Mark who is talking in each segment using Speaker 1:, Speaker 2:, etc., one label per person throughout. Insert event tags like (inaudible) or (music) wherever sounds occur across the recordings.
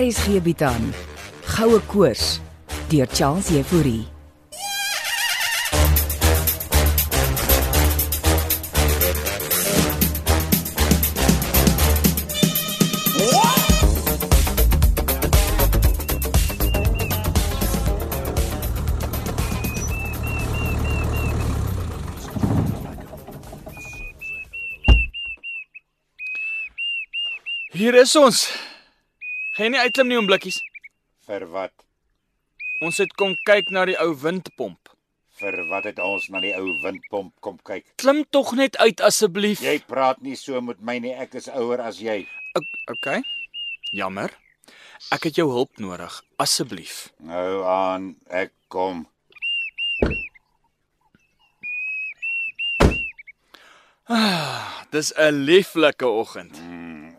Speaker 1: RSG bied aan Goue Koors deur Charles Euphorie.
Speaker 2: Hier is ons. Gaan jy nie uitklim nie om blikkies.
Speaker 3: Vir wat?
Speaker 2: Ons het kom kyk na die ou windpomp.
Speaker 3: Vir wat het ons na die ou windpomp kom kyk?
Speaker 2: Klim tog net uit asseblief.
Speaker 3: Jy praat nie so met my nie, ek is ouer as jy.
Speaker 2: O- Okay. Jammer. Ek het jou hulp nodig, asseblief.
Speaker 3: Nou aan, ek kom.
Speaker 2: Dis 'n lieflike oggend.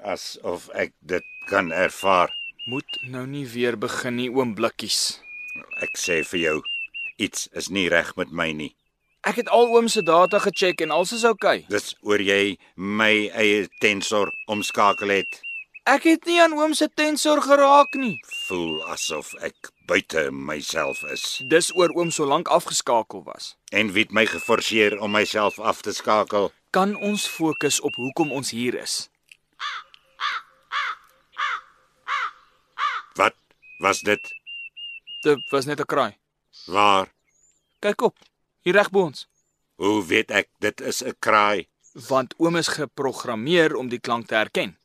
Speaker 3: Asof ek dit kan ervaar.
Speaker 2: Moet nou nie weer begin nie, oom blikkies.
Speaker 3: Ek sê vir jou, iets is nie reg met my nie.
Speaker 2: Ek het al oom se data gecheck en alles is oukei. Okay.
Speaker 3: Dis oor jy my eie tensor omskakel het.
Speaker 2: Ek het nie aan oom se tensor geraak nie.
Speaker 3: Voel asof ek buite myself is.
Speaker 2: Dis oor oom so lank afgeskakel was.
Speaker 3: En wie het my geforseer om myself af te skakel?
Speaker 2: Kan ons fokus op hoekom ons hier is?
Speaker 3: Wat was dit?
Speaker 2: Dit was net 'n kraai.
Speaker 3: Waar?
Speaker 2: Kyk op. Hier reg bo ons.
Speaker 3: Hoe weet ek dit is 'n kraai?
Speaker 2: want oom is geprogrammeer om die klank te herken.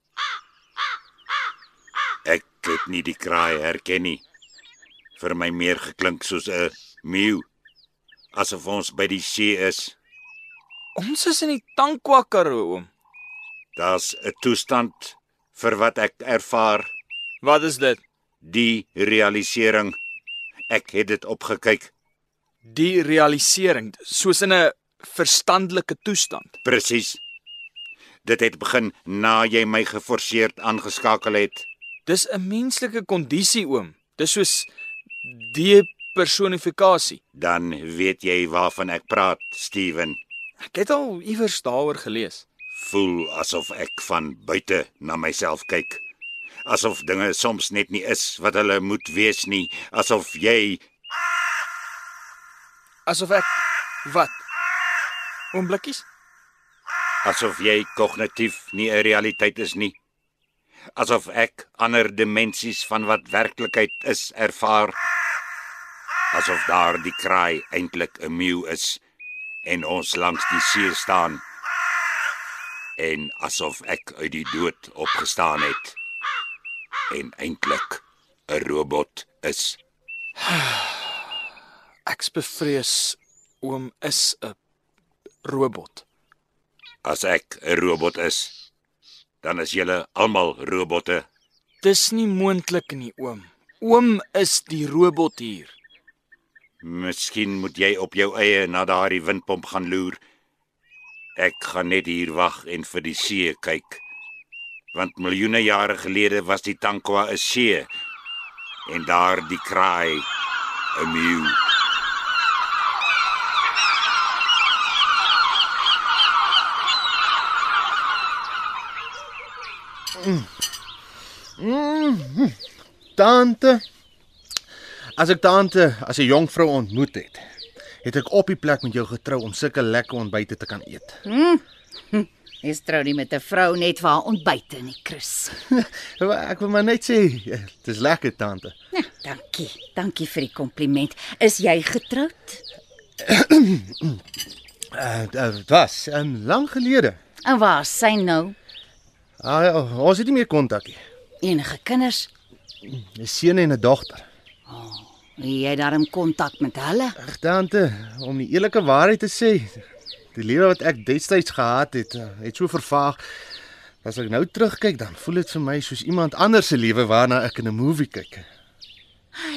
Speaker 3: Ek het nie die kraai herken nie. Vir my meer geklink soos 'n meeu. Asof ons by die see is.
Speaker 2: Ons is in die Tankwa Karoo oom.
Speaker 3: Daar's 'n toestand vir wat ek ervaar,
Speaker 2: Wat is dit?
Speaker 3: die realisering. Ek het dit opgekyk,
Speaker 2: Die realisering soos in 'n verstandelike toestand.
Speaker 3: presies. Dit het begin na jy my geforseerd aangeskakel het.
Speaker 2: Dis 'n menslike kondisie oom. Dis soos depersonifikasie.
Speaker 3: Dan weet jy waarvan ek praat, Steven.
Speaker 2: Ek het al iewers daaroor gelees.
Speaker 3: voel asof ek van buite na myself kyk. Asof dinge soms net nie is wat hulle moet wees nie, asof jy
Speaker 2: Asof ek wat? Oom blikkies?
Speaker 3: asof jy kognitief nie 'n realiteit is nie. Asof ek ander dimensies van wat werklikheid is ervaar. Asof daar die kraai eintlik 'n meeu is en ons langs die see staan. En asof ek uit die dood opgestaan het en eintlik 'n robot is.
Speaker 2: Ek's bevrees oom is 'n robot.
Speaker 3: As ek 'n robot is, dan is julle almal robotte.
Speaker 2: Dis nie moontlik nie oom. Oom is die robot hier.
Speaker 3: Miskien moet jy op jou eie na daardie windpomp gaan loer. Ek gaan net hier wag en vir die see kyk. Want miljoene jare gelede was die Tankwa 'n see en daar die kraai 'n meeu.
Speaker 4: Tante. As ek tante as 'n jong vrou ontmoet het, het ek op die plek met jou getrou om sulke lekker ontbyte te kan eet.
Speaker 5: Jy's trou nie met 'n vrou net vir haar ontbyte nie, Chris.
Speaker 4: Maar Nou, ek wil maar net sê, dit is lekker tante.
Speaker 5: Ja, dankie. Dankie vir die kompliment. Is jy getroud?
Speaker 4: Uh, uh, Dit was um, lank gelede.
Speaker 5: En waar is sy nou?
Speaker 4: Uh, ons het nie meer kontak nie.
Speaker 5: Enige kinders?
Speaker 4: 'n Seun en 'n dogter.
Speaker 5: Het jy daarom kontak met hulle?
Speaker 4: Ag tante, om die eerlike waarheid te sê, die lewe wat ek destyds gehad het, uh, het so vervaag. As ek nou terugkyk, dan voel dit vir my soos iemand anders se lewe waarna ek in 'n movie kyk.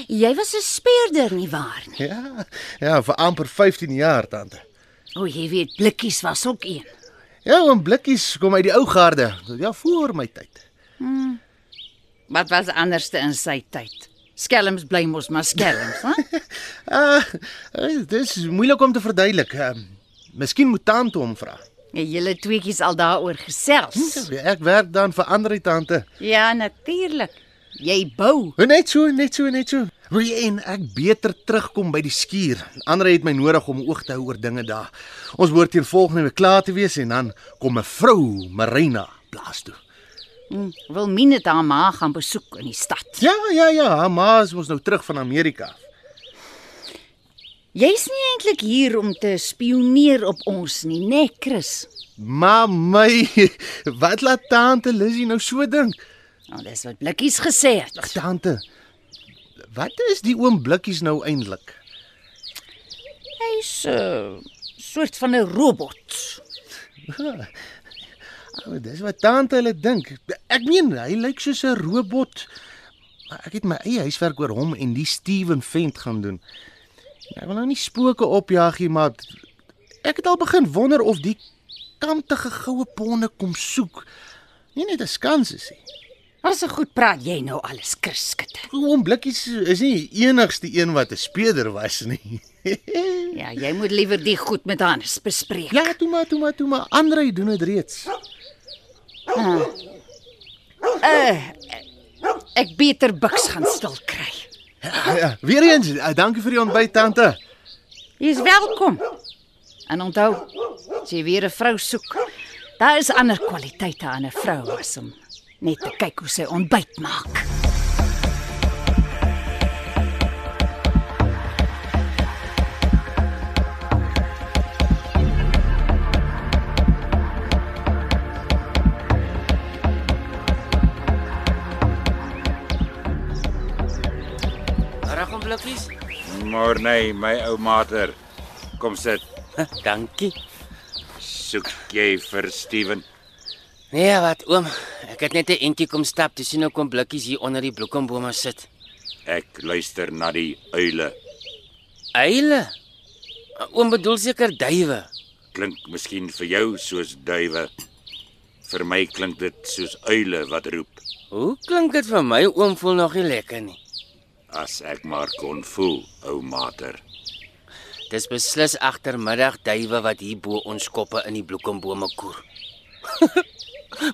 Speaker 5: Jy was 'n speurder nie waar nie.
Speaker 4: Ja, ja, vir amper 15 jaar tante.
Speaker 5: O, jy weet, blikkies was ook een.
Speaker 4: Ja, oom Blikkies kom uit die ou garde. Ja, voor my tyd.
Speaker 5: Wat was anderste in sy tyd? Skelms bly mos maar skelms, (laughs) hè?
Speaker 4: Ah, eh, dis moeilik om te verduidelik. Ehm, Miskien moet tante hom vra. Hm?
Speaker 5: Julle tweeetjies al daaroor gesels.
Speaker 4: Ek werk dan vir ander tante.
Speaker 5: Ja, natuurlik. Jy bou.
Speaker 4: Hoe net so, net so, net so. Wil jy en ek beter terugkom by die skuur. Andre het my nodig om oog te hou oor dinge daar. Ons behoort teen volgende week klaar te wees en dan kom mevrou Marina plaas toe.
Speaker 5: Hm, Wilmien het haar ma gaan besoek in die stad.
Speaker 4: Ja, ja, ja, haar ma is mos nou terug van Amerika.
Speaker 5: Jy's nie eintlik hier om te spioneer op ons nie, né, nee, Chris?
Speaker 4: Maar my, (laughs) wat laat tante Lizzie nou so dink?
Speaker 5: Nou, dis wat Blikkies gesê het.
Speaker 4: Ag tante. Wat is die oom blikkies nou eintlik?
Speaker 5: Hy's 'n soort van 'n robot.
Speaker 4: O, dis wat tante hulle dink. Ek meen, hy lyk soos 'n robot. Maar ek het my eie huiswerk oor hom en die Steven vent gaan doen. Ek wil nou nie spooke opjag nie, maar ek het al begin wonder of die kantige goue ponde kom soek. Nie net 'n skans is nie.
Speaker 5: Wat 'n goed praat jy nou alles, Chris skitte.
Speaker 4: Oom Blikkies is nie die enigste een wat 'n speeder was nie.
Speaker 5: Ja, jy moet liewer die goed met Hans bespreek.
Speaker 4: ja, toe maar, toe maar, toe maar. Andre doen dit reeds.
Speaker 5: Eh, Ek beter buks gaan stil kry.
Speaker 4: Ja, ja. Weereens, eh, dankie vir die ontbyt tante.
Speaker 5: Jy's welkom. En onthou, as jy weer 'n vrou soek, daar is ander kwaliteite aan 'n vrou as om net te kyk hoe sy ontbyt maak.
Speaker 6: Reg om blikkies?
Speaker 3: Maar nee, my ou mater. Kom sit.
Speaker 6: Dankie.
Speaker 3: Soek jy vir Steven?
Speaker 6: Nee, wat oom, ek het net 'n entjie kom stap, dis nou kom blikkies hier onder die bloekombome sit.
Speaker 3: Ek luister na die uile.
Speaker 6: Eile. Oom bedoel seker duwe.
Speaker 3: Klink miskien vir jou soos duwe. Vir my klink dit soos uile wat roep.
Speaker 6: Hoe klink dit vir my oom voel nog nie lekker nie.
Speaker 3: As ek maar kon voel, ou mater.
Speaker 6: Dis beslis agtermiddag duwe wat hier bo ons koppe in die bloekombome koer. (laughs)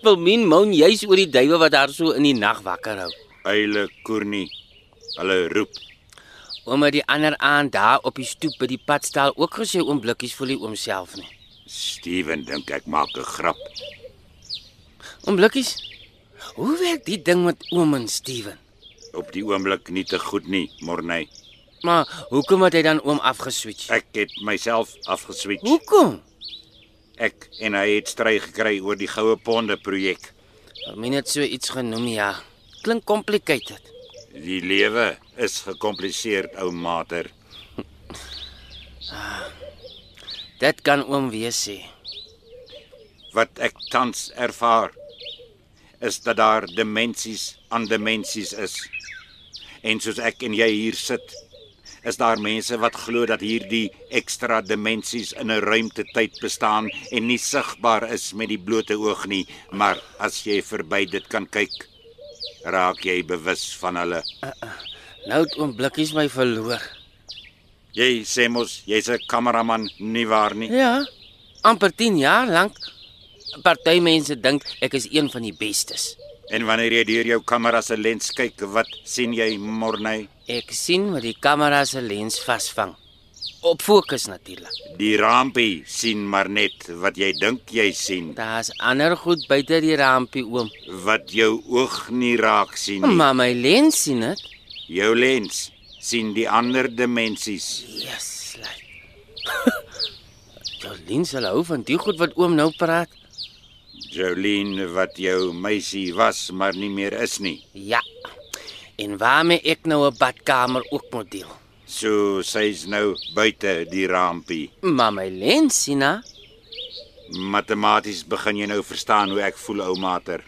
Speaker 6: Wilmien moan juis oor die duwe wat haar so in die nag wakker hou.
Speaker 3: Uile koer nie. Hulle roep.
Speaker 6: Oom het die ander aand daar op die stoep by die padstal ook gesê oom blikkies voel nie oom self nie.
Speaker 3: Steven dink ek maak 'n grap.
Speaker 6: Oom Blikkies. Hoe werk die ding met oom en Steven?
Speaker 3: Op die oomblik nie te goed nie, Morney.
Speaker 6: Maar hoekom het hy dan oom afgeswitch?
Speaker 3: Ek het myself afgeswitch.
Speaker 6: Hoekom?
Speaker 3: Ek en hy het stry gekry oor die goue ponde projek.
Speaker 6: Min het so iets genoem ja. Klink complicated.
Speaker 3: Die lewe is gekompliseerd, ou mater.
Speaker 6: Dit kan oom weer sê.
Speaker 3: Wat ek tans ervaar is dat daar dimensies aan dimensies is. En soos ek en jy hier sit, is daar mense wat glo dat hierdie ekstra dimensies in 'n ruimtetyd bestaan en nie sigbaar is met die blote oog nie, maar as jy verby dit kan kyk, raak jy bewus van hulle.
Speaker 6: Nou het oom Blikkies my verloor.
Speaker 3: Jy sê mos jy's 'n kameraman, nie waar nie?
Speaker 6: Ja. amper 10 jaar lank. Party mense dink ek is een van die bestes.
Speaker 3: En wanneer jy deur jou kamera se lens kyk, wat sien jy, Morney?
Speaker 6: Ek sien wat die kamera se lens vasvang. Op fokus natuurlik.
Speaker 3: Die rampie sien maar net wat jy dink jy sien,
Speaker 6: Daar's ander goed buite die rampie oom.
Speaker 3: wat jou oog nie raak sien nie.
Speaker 6: Maar my lens sien dit.
Speaker 3: Jou lens sien die ander dimensies.
Speaker 6: Yes, like. (laughs) Jolien sal hou van die goed wat oom nou praat.
Speaker 3: Jolene wat jou meisie was, maar nie meer is nie.
Speaker 6: Ja. En waarmee ek nou 'n badkamer ook moet deel.
Speaker 3: So sy's nou buite die rampie.
Speaker 6: Maar my lens sien haar.
Speaker 3: Matematies begin jy nou verstaan hoe ek voel, ou mater.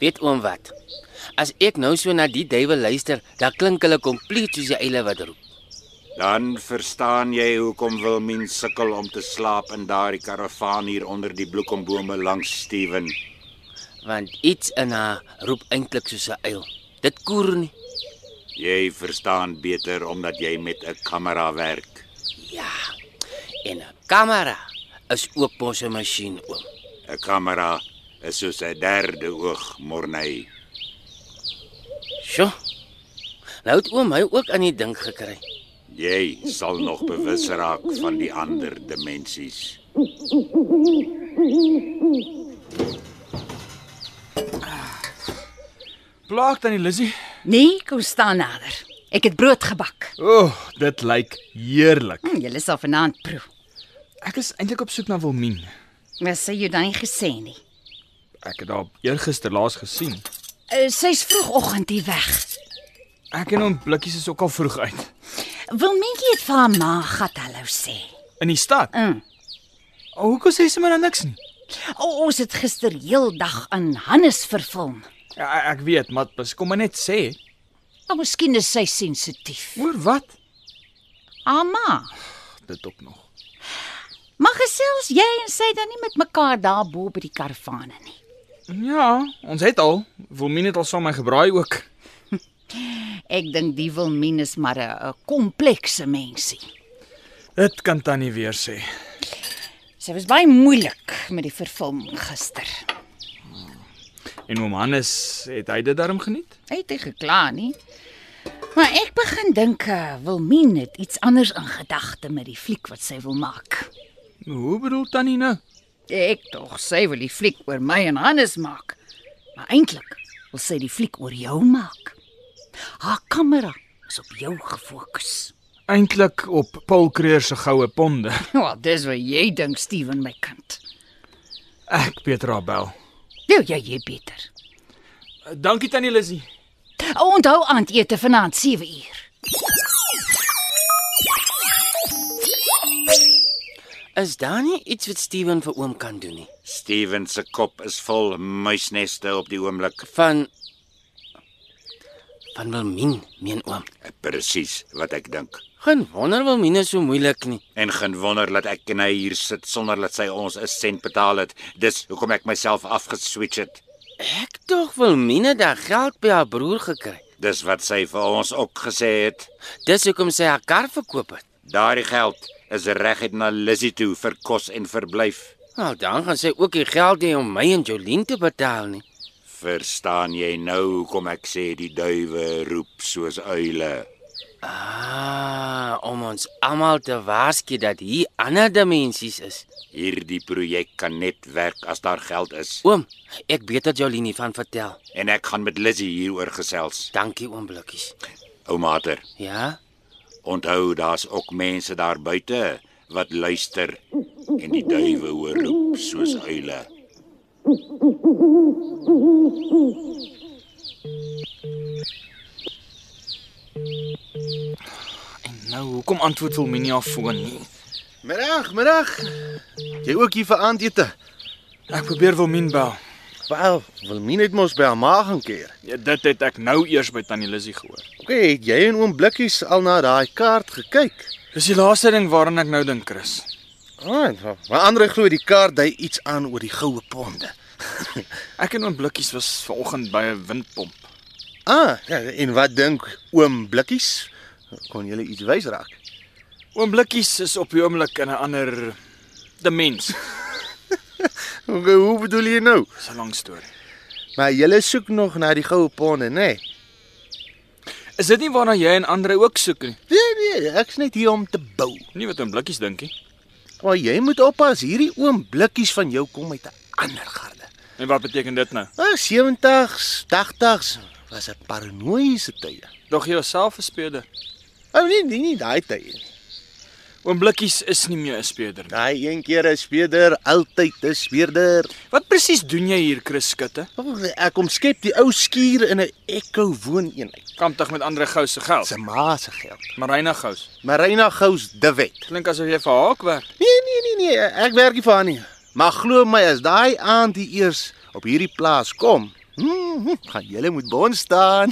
Speaker 6: Weet oom wat? As ek nou so na die duiwel luister, dan klink hulle kompleet soos die eile wat roep.
Speaker 3: Dan verstaan jy hoekom Wilmien sukkel om te slaap in daardie karavaan hier onder die bloekombome langs Steven.
Speaker 6: Want iets in haar roep eintlik soos 'n uil. Dit koer nie.
Speaker 3: Jy verstaan beter omdat jy met 'n kamera werk.
Speaker 6: Ja. En 'n kamera is ook mos 'n masjien oom.
Speaker 3: 'n Kamera is soos 'n derde oog, Morney.
Speaker 6: Sjoe. Nou het oom my ook aan die dink gekry.
Speaker 3: Jy sal nog bewus raak van die ander dimensies.
Speaker 2: Plaag dan die Lizzie.
Speaker 5: Nee, kom staan nader. Ek het brood gebak.
Speaker 2: O, oh, dit lyk heerlik.
Speaker 5: Hm, Julle sal vanaand proe.
Speaker 2: Ek is eintlik op soek na Wilmien.
Speaker 5: Maar sê jy dan nie gesê nie.
Speaker 2: Ek het haar eergister laas gesien.
Speaker 5: Uh, Sy's vroegoggend hier weg.
Speaker 2: Ek en hom blikkies is ook al vroeg uit
Speaker 5: Wil netjie het vir haar ma gat hallo sê.
Speaker 2: in die stad.
Speaker 5: Mm.
Speaker 2: O, hoekom sê sy maar dan niks nie?
Speaker 5: O, ons het gister heeldag aan Hannes vervilm.
Speaker 2: Ja, e- ek weet, maar bes kom maar net sê.
Speaker 5: Maar miskien is sy sensitief.
Speaker 2: Oor wat?
Speaker 5: Haar ma.
Speaker 2: Dit ook nog.
Speaker 5: Maar gesels jy en sy dan nie met mekaar daar bo by die karavane nie.
Speaker 2: Ja, ons het al. Wilmien het al saam my gebraai ook.
Speaker 5: Ek dink die Wilmien is maar 'n 'n komplekse mensie.
Speaker 2: Dit kan tannie weer sê.
Speaker 5: Sy was baie moeilik met die vervilm gister.
Speaker 2: En oom Hannes, het hy dit darm geniet?
Speaker 5: Hy het nie gekla nie. Maar ek begin dink eh, Wilmien het iets anders in gedagte met die fliek wat sy wil maak.
Speaker 2: Hoe bedoel tannie nou?
Speaker 5: Ek tog, sy wil die fliek oor my en Hannes maak. Maar eintlik wil sy die fliek oor jou maak. Haar kamera is op jou gefokus.
Speaker 2: Eintlik op Paul Creer se goue ponde.
Speaker 5: Wel, Nou, dis wat jy dink, Steven my kind.
Speaker 2: Ek Petra bel.
Speaker 5: Nou ja, jy beter.
Speaker 2: Dankie tannie Lizzie.
Speaker 5: Onthou aandete vanaand 7 uur.
Speaker 6: Is daar nie iets wat Steven vir oom kan doen nie?
Speaker 3: Steven se kop is vol muisneste op die oomblik.
Speaker 6: Van van Wilmien, meen oom.
Speaker 3: Presies wat ek dink.
Speaker 6: Geen wonder Wilmien is so moeilik nie.
Speaker 3: En geen wonder dat ek en hy hier sit sonder dat sy ons 'n sent betaal het. Dis hoekom ek myself afgeswitch het.
Speaker 6: Ek tog Wilmien het daai geld by haar broer gekry.
Speaker 3: Dis wat sy vir ons ook gesê het.
Speaker 6: Dis hoekom sy haar kar verkoop het.
Speaker 3: Daardie geld is reguit na Lizzie toe vir kos en verblyf.
Speaker 6: Nou dan gaan sy ook die geld hê om my en Jolien te betaal nie.
Speaker 3: Verstaan jy nou hoekom ek sê die duwe roep soos uile?
Speaker 6: Ah, om ons almal te waarsku dat hier ander dimensies is.
Speaker 3: Hierdie projek kan net werk as daar geld is
Speaker 6: Oom, ek weet dat Jolien hiervan vertel.
Speaker 3: en ek gaan met Lizzie hieroor gesels.
Speaker 6: Dankie oom Blikkies.
Speaker 3: Oumater,
Speaker 6: Ja?
Speaker 3: onthou daar's ook mense daar buite wat luister en die duwe hoor roep soos uile.
Speaker 2: En nou, hoekom antwoord Wilmien nie haar foon nie?
Speaker 4: Middag, middag. Jy ook hier vir aandete?
Speaker 2: Ek probeer Wilmien bel.
Speaker 4: Wel, Wilmien het mos by haar ma gaan keer.
Speaker 2: Ja, dit het ek nou eers by tannie Lizzie gehoor.
Speaker 4: OK, het jy en oom Blikkies al na daai kaart gekyk?
Speaker 2: Dis die laaste ding waaraan ek nou dink, Chris.
Speaker 4: Ah, en- maar ander glo die kaart dui iets aan oor die goue ponde.
Speaker 2: Ek en oom Blikkies was vanoggend by 'n windpomp.
Speaker 4: Ah, ja, en wat dink oom Blikkies? Kon jy iets wys raak?
Speaker 2: Oom Blikkies is op die oomblik in 'n ander dimens.
Speaker 4: Okay, hoe bedoel jy nou?
Speaker 2: Dis 'n lang storie.
Speaker 4: Maar jy soek nog na die goue ponde, né? Nee?
Speaker 2: Is dit nie waarna jy en Andre ook soek nie?
Speaker 4: Nee nee, ek's net hier om te bou.
Speaker 2: Nie wat oom Blikkies dink nie.
Speaker 4: Maar jy moet oppas, hierdie oom blikkies van jou kom uit 'n ander garde.
Speaker 2: En wat beteken dit nou?
Speaker 4: Ah, 70s, 80s was 'n paranoïese tye.
Speaker 2: Dog jy jouself 'n speeder?
Speaker 4: Ou nee, nie nie daai tye nie.
Speaker 2: Oom Blikkies is nie meer 'n speeder nie.
Speaker 4: Daai een keer 'n speerder, altyd 'n speerder.
Speaker 2: Wat presies doen jy hier, Chris Skutte?
Speaker 4: Oh, ek omskep die ou skuur in 'n ekko wooneenheid.
Speaker 2: Kamptig met Andre Gous se geld.
Speaker 4: Oh. Sy ma se geld.
Speaker 2: Marina Gous.
Speaker 4: Marina Gous de Wet.
Speaker 2: Klink asof jy vir Haak werk.
Speaker 4: Nee nee nee nee, ek werk nie vir haar nie. Maar glo my, as daai aand die eers op hierdie plaas kom, hmm, hmm, gaan julle moet bond staan.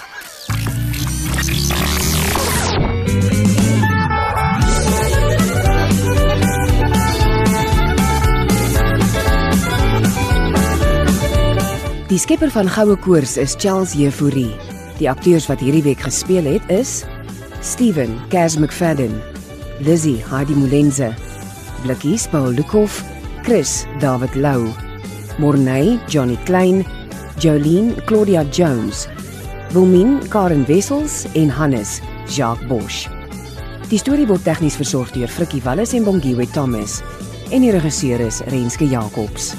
Speaker 1: Die skepper van Goue Koors is Charles Jefouri. Die akteurs wat hierdie week gespeel het is Steven Cas McFadden, Lizzie Heidi Molenze, Blikkies Paul Lukhof, Chris David Lou, Morney Johnny Klein, Jolene Claudia Jones, Wilmien Karen Wessels en Hannes Jacques Bosch. Die storie word tegnies versorg deur Frikkie Wallis en Bongwe Thomas en die regisseur is Renske Jacobs.